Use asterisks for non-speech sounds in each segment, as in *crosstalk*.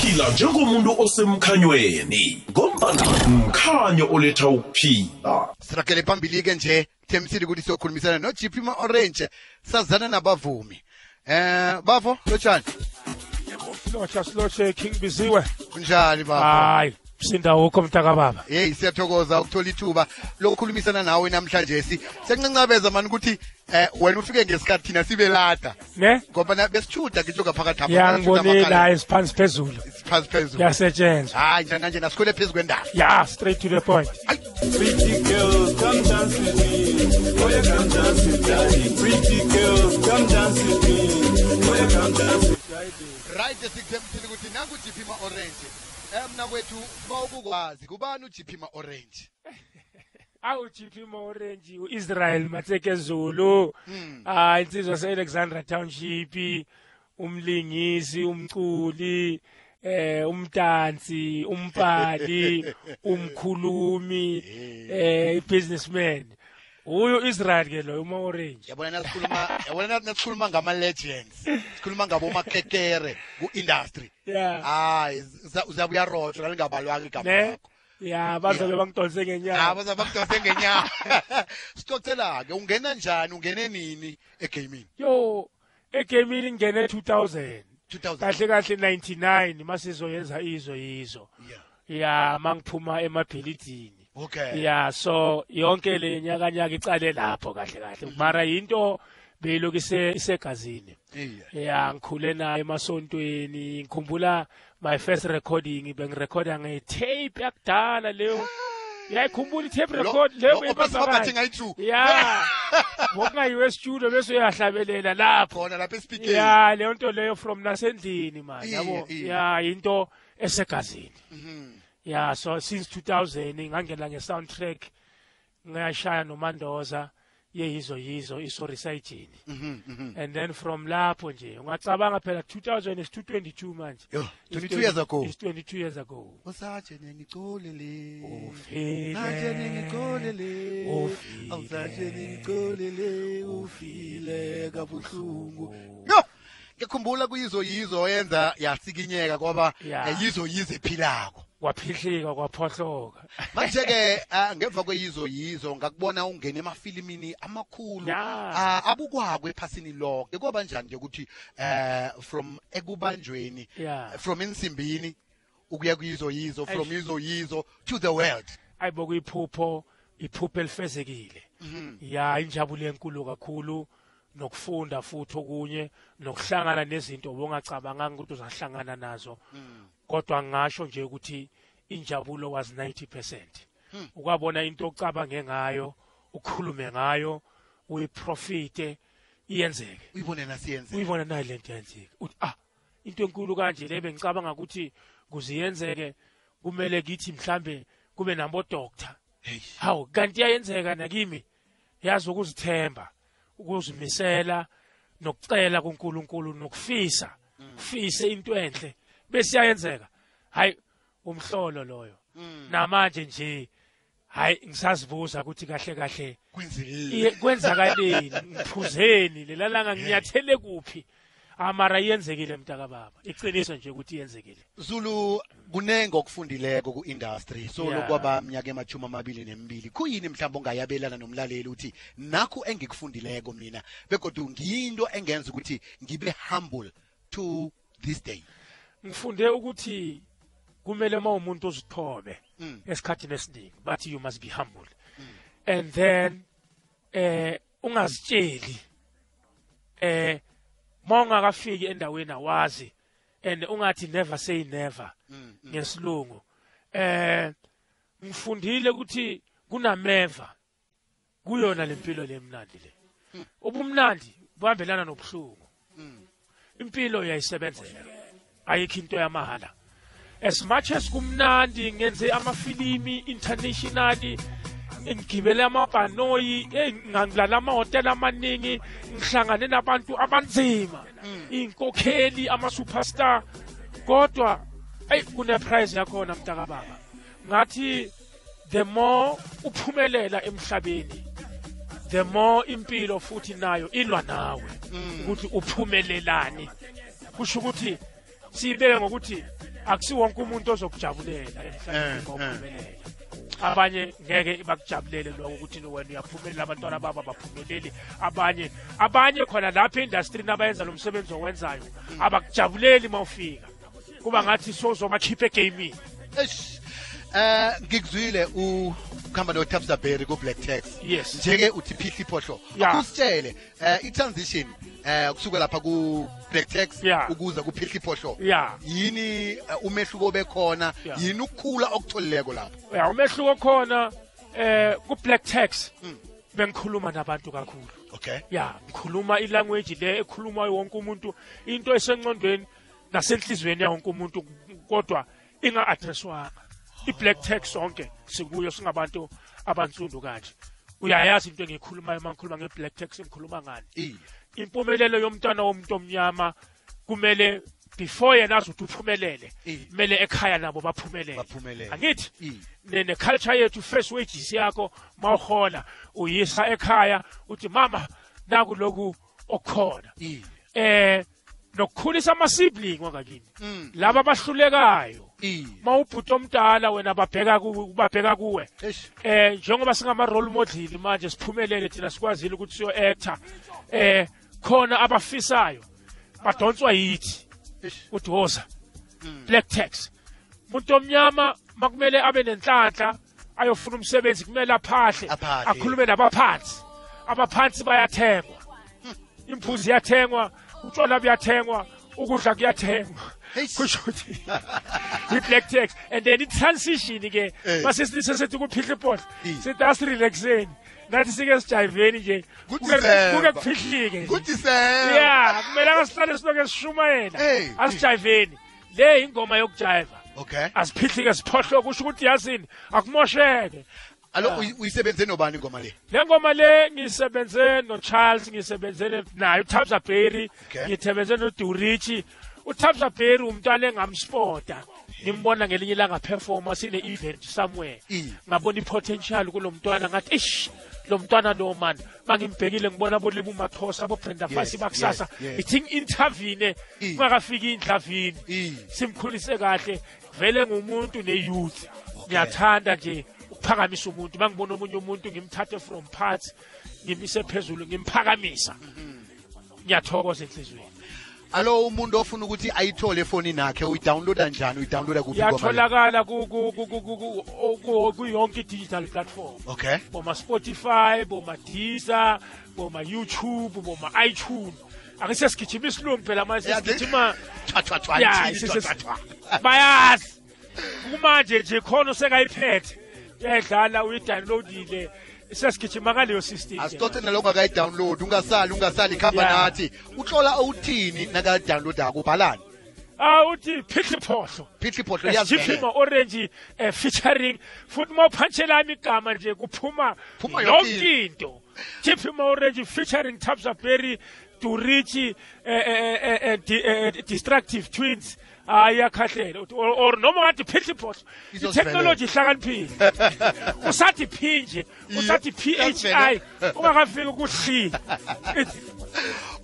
phila njengomuntu osemkhanyweni ngombana mkhanyo oletha ukuphila sirakele phambili-ke nje themisile ukuthi siyokhulumisana no-gp ma-orange sazana nabavumi eh bavo lotshani silotsha silotshe king biziwe kunjani bavo hayi msinda wukho mntakababa yeyi siyathokoza ukuthola ithuba lokukhulumisana nawe namhlanje si siyancancabeza mani ukuthi eh wena ufike ngesikhathi thina sibe lada ne ngoba na- besithuda ngitsho ngaphakathi apha, yangibonile besitjhuda hayi siphansi phezulu amakhala, siphasi phezulu yasetshenzwa hayi njenganje nasikhule phezu kwendaba ya straight to the point Ayi, Pretty girls, come dance with me. Oh, yeah, come dance with daddy. Pretty girls, come dance with me. Oh, yeah, come dance with right sikuthemisile ukuthi nangu gp ma-orange um mna kwethu bawukukwazi kubani ugp ma-orange awuchipi maorenji uisrael matseke zulu hayi insizwa se-alexandra township umlingisi umculi eh umdansi umpali umkhulumi eh i-businessman uyo israel ke loyo umaorenji yabona nasikhuluma yabona nathi nasikhuluma ngama-legends sikhuluma ngabomakekere ku-industry ya hayi uza- uzabe uyarotshwa lalingabalwanga igama ne lakho ya bazobe bangidonse ngenyanga abaza bakudose ngenyanga *laughs* sicocela-ke ungena njani ungene nini egaming yo egemini ngene 2000 2000 kahle kahle 99 masizoyenza izo yizo Yeah. ya mangiphuma emabhelidini okay ya so yonke le nyakanyaka icale lapho kahle kahle mara into beyiloku ise- isegazini Iya. ya ngikhule nayo emasontweni ngikhumbula my first recording bengirekhoda ngetape yakudala leyo uyayikhumbula i-tape Lo- record lo- obesibamba leyo thinga i-two. *laughs* ya ngokungayiwe studio bese uyahlabelela lapho khona lapha esipikeni ya leyo nto leyo from nasendlini manje Iya, yabo iya. ya into esegazini Mhm. ya so since 2000 ngangena nge-soundtrack ngashaya nomandoza yeyizo yizo isorisayijini Mhm, and then from lapho nje ungacabanga phela 2000 is 222 manje Yo, Is 22 years ago. is 22 years ago usatshe nengicolele usatshe ufile nengicolele Ufile. awusatshe nengicolele ufile kabuhlungu Oh. yo ngikhumbula kuyizo yizo oyenza yasikinyeka kwaba Ya. eh, yizo yizo ephilako kwaphihlika kwaphohloka *laughs* manje-ke ah, ngemva kweyizo yizo ngakubona ungena emafilimini amakhulu Ya. ah, abukwako ephasini lonke kwaba njani nje ukuthi eh from ekubanjweni Ya. from insimbini ukuya kuyizo yizo from yizo yizo to the world ayibo kuyiphupho iphupho elifezekile ya injabulo enkulu kakhulu nokufunda futhi okunye nokuhlangana nezinto obungacabanganga ukuthi uzahlangana nazo kodwa ngasho nje ukuthi injabulo was 90% ukwabona into ocabange ngayo ukhulume ngayo uyiprofite iyenzeke uyibone nasiyenze uyibona nayo lento yenzeka uthi ah into enkulu kanje le bengicabanga ukuthi kuze iyenzeke kumele kithi mhlambe kube nabo doctor hawu kanti iyayenzeka nakimi yazi ukuzithemba ukuzimisela nokucela kuNkulunkulu nokufisa ufise into enhle bese iyayenzeka hayi umhlolo loyo namanje nje hayi ngisazibuza ukuthi kahle kahle kwenzekile iye *laughs* kwenzakaleni ngiphuzeni lelalanga nginyathele kuphi amara yenzekile mntakababa iqiniso nje ukuthi yenzekile zulu kunenge okufundileko ku-industry so Ya. lokwaba mnyaka emachumi amabili nemibili khuyini mhlawumbe ongayabelana nomlaleli ukuthi nakho engikufundileko mina begodwa ngiyinto engenza ukuthi ngibe humble to this day ngifunde ukuthi kumele uma umuntu uzithobe Mm. esikhathini esiningi but you must be humble and then eh ungazitsheli eh mawungakafiki endaweni awazi and ungathi never say never ngesilungu eh ngifundile ukuthi kunameva kuyona lempilo lemnandi le ubumnandi buhambelana nobuhlungu impilo uyayisebenzela ayikho into yamahala as much as kumnandi ngenze amafilimi internationally ngigibele amabhanoyi eh, ngilala amahhotela amaningi ngihlangane nabantu abanzima iy'nkokheli ama-superstar kodwa eyi kune-prize yakhona mntakababa ngathi the more uphumelela emhlabeni the more impilo futhi nayo ilwa nawe Mm. ukuthi uphumelelani kusho ukuthi siyibeke ngokuthi akusiwonke umuntu ozokujabulela Eh, emhlabeni ngokuphumelela abanye ngeke bakujabulele lokho ukuthi no wena uyaphumelela abantwana babo abaphumeleli abanye abanye khona lapha e-indastrini abayenza lo msebenzi owenzayo Mm. abakujabuleli uma ufika kuba ngathi sozobakhipha egamini Eish. Eh ngikuzwile u khamba no Tapsa Berry ku Black Tax. Yes. Njeke uthi phihla iphohlo. Yeah. Akusitshele eh i transition eh kusuka lapha ku Black Tax Yeah. ukuza ku phihla iphohlo. Yeah. Yini eh, umehluko obekhona? Yeah. Yini ukukhula okutholileko lapho? ya umehluko khona eh ku-black tax Mm. bengikhuluma nabantu kakhulu Okay. ya ngikhuluma ilanguage le ekhuluma wonke umuntu into esengcondweni nasenhlizweni yawonke umuntu kodwa inga-addresswanga i-black tax sonke sikuyo singabantu abansundu kanje uyayazi into engiyikhulumayo uma ngikhuluma nge-black tax ngikhuluma ngani Iye. impumelelo yomntwana womuntu omnyama kumele before yena aze ukuthi uphumelele Iye. kumele ekhaya nabo baphumelele Baphumelele. angithi Mm. ne ne culture yethu first wages yakho mawuhola uyisa ekhaya uthi mama naku lokhu okukhona I. eh nokukhulisa ama sibling Mm. wangakini laba abahlulekayo I. mawubhuta omdala wena babheka kuwe ubabheka kuwe Eish. eh njengoba singama role model manje siphumelele thina sikwazile ukuthi siyo actor eh khona abafisayo badonswa yithi Eish. uthi woza black tax umuntu omnyama makumele abe nenhlanhla ayofuna umsebenzi kumele aphahle Aphahle. akhulume nabaphansi abaphansi bayathengwa impuzi iyathengwa utshwala buyathengwa ukudla kuyathengwa Hey. kusho ukuthi *laughs* i-black tax and then i-transition-ke Eh. masesisesethi kuphihla ibhodla Eh. sithi asirelaxeni nathi sike sijayiveni nje KuDisemba. kuke kufihlike nje Kudisemba. ya kumelanga sihlale siloke sishumayela Hey. asijayiveni le ingoma yokujayiva Okay. asiphihlike siphohlo kusho ukuthi yazini akumosheke Alo uyi- uyisebenze nobani ngoma le? le ngoma le ngisebenze no-charles ngisebenze ne- naye utabza berry Okay. ngisebenze nodurichi utabza berry umntwana engamspota nimbona ngelinye ilangaphefoma sine-event somewhere Mm. ngabona i-potential kulo mntwana ngathi ish lo mntwana lo mani mangimbhekile ngibona boliba umathosa bobrenda fasi bakusasa yes, yes. ithi ngi-intervine Mm. kungakafiki indlavini Mm. simkhulise kahle vele ngumuntu ne-youth ngiyathanda nje ukuphakamisa umuntu uma ngibona omunye umuntu ngimthathe from parts ngimise phezulu ngimphakamisa ngiyathokoza enhliziyweni Alo umuntu ofuna ukuthi ayithole efoni nakhe uyidownloada njani uyidownloada kuphi ngoma? yatholakala ku- ku- ku- ku- ku- ku- o- ku- kuyonke i-digital platform le? Okay. boma-spotify boma-deezer boma-youtube boma-itune angisesigijima isilungu phela manje Yeah, *laughs* sesigijima Twa twa twa. ya ithini, twa, twa, twa. *laughs* bayazi kumanje nje khona osekayiphethe uyayidlala uyidownloadile sesigijima ngaleyo system asixoxe naloko akayi-download ungasali ungasali khamba Yeah. nathi utlola uthini nakadownloadako ubhalani ah uthi phihle iphohlo phihle iphohlo siphuma orange eh, featuring futhi mawuphantshelana igama nje kuphuma Phuma yonke yonke into siphuma orange featuring tabs of berry durichi eh, eh, eh, eh, di- eh, eh, destructive twins hayi iyakhahlela Uthi, or or noma ungathi phihle iphohlo Izosivelela. itechnology ihlakaniphile *laughs* *laughs* usathi p nje usathi p h i iyasivela. ungakafiki kuhli *laughs* It-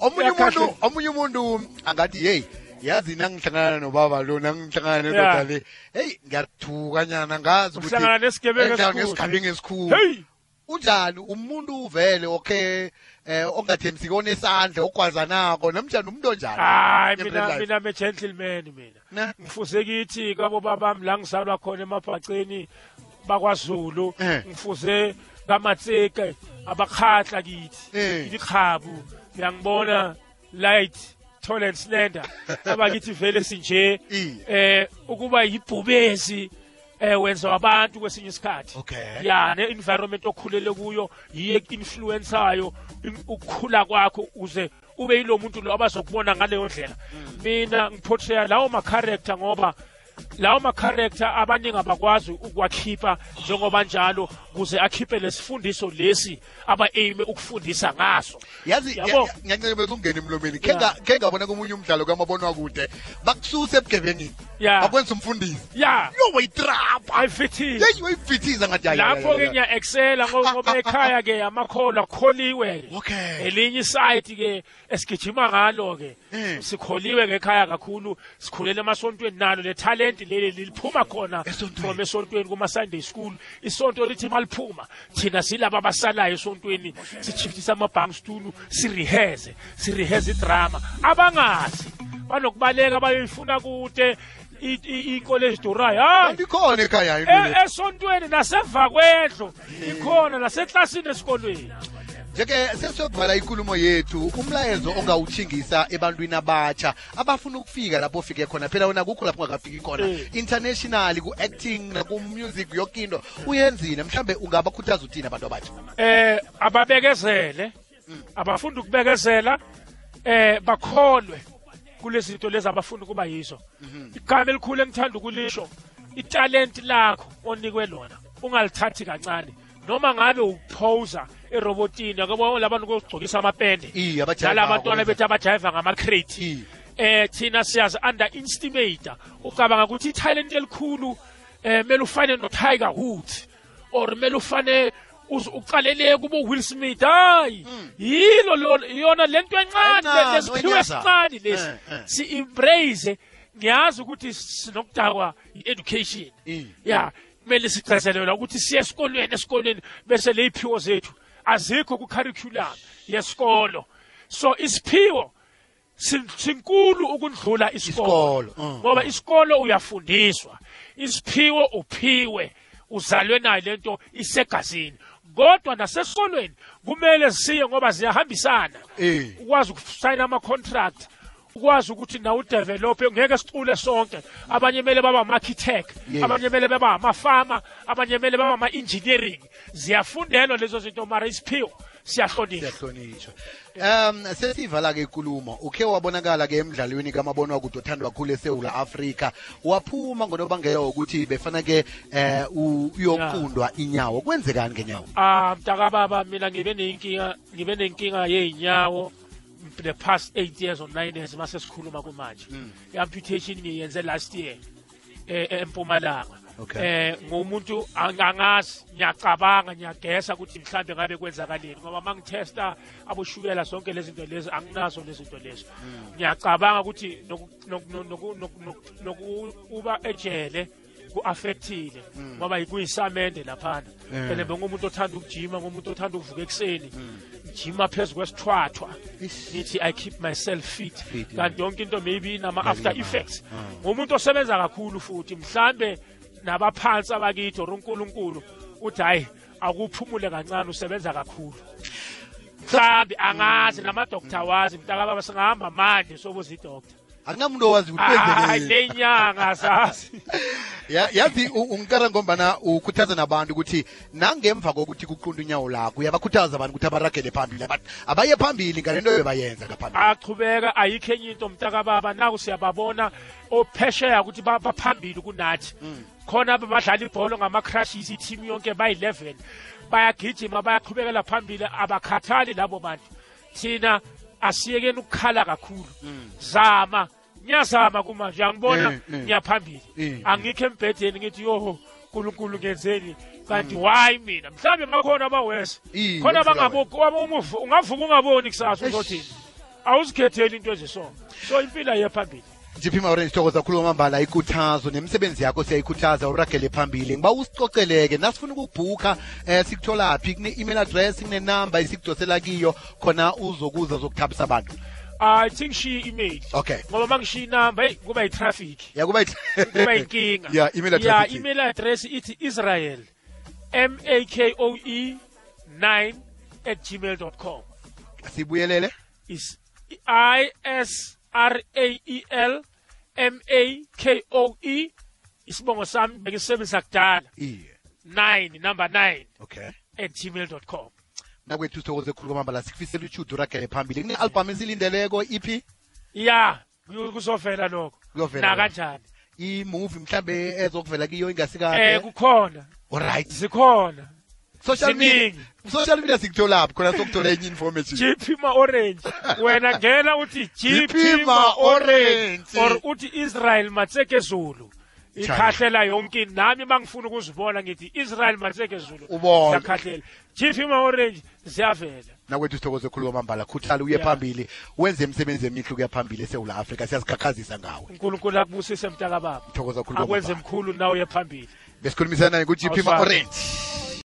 omunye Uyakhahle. umuntu omunye umuntu angathi hey yazi nangihlangana nobaba lo nangihlangana nendoda Yeah. le hey ngiyathuka nyana ngazi ukuthi Uhlangana nesigebengu ngihlangana esikhulu. nesigebengu esikhulu hey unjani umuntu uvele okay eh ongathembisiki onesandla ogwazanako namjani umuntu onjani hayi Em- mina real life. mina me-gentleman mina Ne? ngifuze kithi kabobabami la ngizalwa khona emabhaceni bakwazulu Eh. ngifuze kamatseke abakhahla Eh. kithi ilikhabu ngiyangibona light tall and *laughs* slender abakithi vele sinje I. eh ukuba yibhubezi eh wenza wabantu kwesinye isikhathi Okay. ya ne environment okhulele kuyo yiye influenceayo im- ukukhula kwakho uze ube yilo muntu lo abazokubona ngaleyo ndlela mina ngiportray lawo ma character ngoba lawo ma character abaningi abakwazi ukwakhipha njengoba njalo kuze akhiphe lesifundiso lesi aba aim ukufundisa ngaso yazi ya- Yabo. ya- ngiyancebeza ukungena emlomeni Ke Yeah. nga- ke ngabona komunye umdlalo kamabono akude bakususe ebugebengini Yeah. wakwenza umfundisi ya yo wayitrapa ayifitile yeyi wayibhithiza ngathi hayi, hayi, lapho hayi, ke hayi. ngiya-excela ngo- ngoba ekhaya ke amakhola kukholiwe ke okay elinye isayiti ke esigijima ngalo ke Mm. sikholiwe ngekhaya kakhulu sikhulela emasontweni nalo le talenti leli liliphuma khona Esontweni. from esontweni kuma Sunday school isonto lithi maliphuma thina silaba abasalayo esontweni sichiftisa amabhang stool sireheze sireheze idrama abangazi banokubaleka bayifuna kude i- i- inkole ezidorayo hayi andikhona ekhaya e- into le. esontweni naseva kwendlo ikhona naseklasini esikolweni njeke sesiyobhala inkulumo yethu umlayezo ongawutshingisa ebantwini abatsha abafuna ukufika lapho ofike khona phela wena kukho lapho ungakafiki khona Eh. internationally ku-acting nakumusic yonke into uyenzile mhlawumbe ungabakhuthaza uthini abantu abatsha eh ababekezele abafunda ukubekezela eh bakholwe kulezinto lezi abafuna kuba yizo igama elikhulu engithanda ukulisho italent lakho onikwe lona ungalithathi kancane noma ngabe uphosa erobotini akubona labantu kokugcokisa amapende Iye, abajayiva Nala abantwana ngokwenza- bethu abajayiva ngama-crate Iye. eh thina siyazi under estimate ucabanga ukuthi italent elikhulu eh mele ufane no Tiger Woods or mele ufane uz- uqalele kubo Will Smith hayi yilo lo- yona lento encane Encane, lesiphiwe wenyaza. esincane lesi Eh, eh. si embrace ngiyazi ukuthi sinokudakwa education Mm. ya kumele sichazelelwa ukuthi siye esikolweni esikolweni bese leyiphiwo zethu azikho kucurriculum yesikolo so isiphiwo sin- sinkulu ukundlula isikolo Isikolo, mm. ngoba isikolo uyafundiswa isiphiwo uphiwe uzalwe nayo lento isegazini kodwa nasesikolweni kumele siye ngoba ziyahambisana Eh. ukwazi ukusayina ama-contract ukwazi ukuthi nawe udevelophe ngeke sicule sonke abanye kumele baba ama-architect Yes. abanye kumele baba amafama abanye kumele baba ama-engineering ziyafundelwa lezo zinto mara isiphiwo siyahlonishwa siyahlonishwa um sesiyivala ke ikulumo ukhe wabonakala ke emdlalweni kamabona kude othandwa kakhulu esewula afrika waphuma ngonobangela wokuthi befana ke eh u- uyokundwa inyawo kwenzekani ngenyawo Ah mntakababa mina ngibe nenkinga ngibe nenkinga yeinyawo the past 8 years or 9 years mase sikhuluma kumanje. Mm. Amputation ngiyenze last year eh eMpumalanga. Okay. Eh ngumuntu angangazi ngiyacabanga ngiyagesa ukuthi mhlambe ngabe kwenzakaleni ngoba mangithesta aboshukela zonke lezi zinto lezi anginazo lezi zinto lezi. Hmm. Ngiyacabanga ukuthi nokuba ejele ku-affectile Hmm. ngoba kuyisamende laphana Eh. and bengumuntu othanda ukujima ngumuntu othanda ukuvuka ekuseni ngijima phezu kwesithwathwa Hmm. Ish. ngithi i keep myself fit Fit, yeah. Ah. kanti yonke into maybe nama-after effects ngumuntu osebenza kakhulu futhi mhlambe nabaphansi abakithi or unkulunkulu uthi hhayi akuphumule kancane usebenza kakhulu mhlambe angazi namadokta awazi mntakababa singahamba manje sobuza idokta akunamuntu owazi ukuthi hayi kwenzekeleni le nyanga asazi Ya- yazi u- ungikara ngombana ukhuthaza nabantu ukuthi nangemva kokuthi kuqunda unyawo lakho uyabakhuthaza abantu ukuthi abaragele phambili Aba- abaye phambili ngale nto bebayenza ngaphambili achubeka ayikho enye into mntakababa naku siyababona ophesheya ukuthi ba- baphambili kunathi khona badlala ibholo ngama-crushes i-team yonke bayi-11 bayagijima bayaqhubekela phambili abakhathali labo bantu thina asiyekeni ukukhala kakhulu zama ngiyazama kumanje angibona Mm, mm. ngiyaphambili Mm. angikho embhedeni ngithi yoho nkulunkulu ngenzeni kanti why mina mhlawumbe makhona abawesa Iye, khona kwenzeka bangabu- wabumu- ungavuka ungaboni kusasa uzothini awuzikhetheli into ezisona so impilo ayiye phambili GP Orange thokoza khulu kwamambala ikuthazo nemisebenzi yakho siyayikhuthaza uragele phambili ngiba usicoceleke nasifuna ukubhukha um sikutholaphi kune-email address kunenumber esikudosela kiyo khona uzokuza uzokuthabisa abantu i think she email okay ngoba mangishiya inamba eyi kuba yitraffic yakuba kuba yinkinga ya email ya address ithi- email address ithi israel makoe 9 E at gmail com *laughs* sibuyelele is i s r a e l m a k o e isibongo sami bengisebenzisa kudala iye 9 number 9 okay at gmail com nakwethu sithokoze khulu kwamambala sikufisela utshudu uragele phambili kune-albhamu esilindeleko E iphi ya ku- kuzovela lokho Kuyovela na lokho. kanjani *laughs* imuvi mhlambe ezokuvela kiyo eh ingasikade kukhona olright zikhona social media Ziningi. social media sikutholaphi khona sokuthola enye information GP ma-orange wena ngena uthi GP GP ma-orange. ma-orange or uthi israel matseke zulu ikhahlela yonke into. nami bangifuna ukuzibona ngithi israel matseke zulu Ubone. siyakhahlela GP ma-orange ziyavela nakwethu sithokoze khulu kwamambala khuthale uye Yeah. phambili wenze imisebenzi emihle ukuya phambili esewula afrika siyazikhakhazisa ngawe unkulunkulu akubusise mtakababa Ngithokoza khulu akwenze kwamambala. mkhulu nawe uye phambili besikhulumisana naye ku-gp Awusale. ma-orange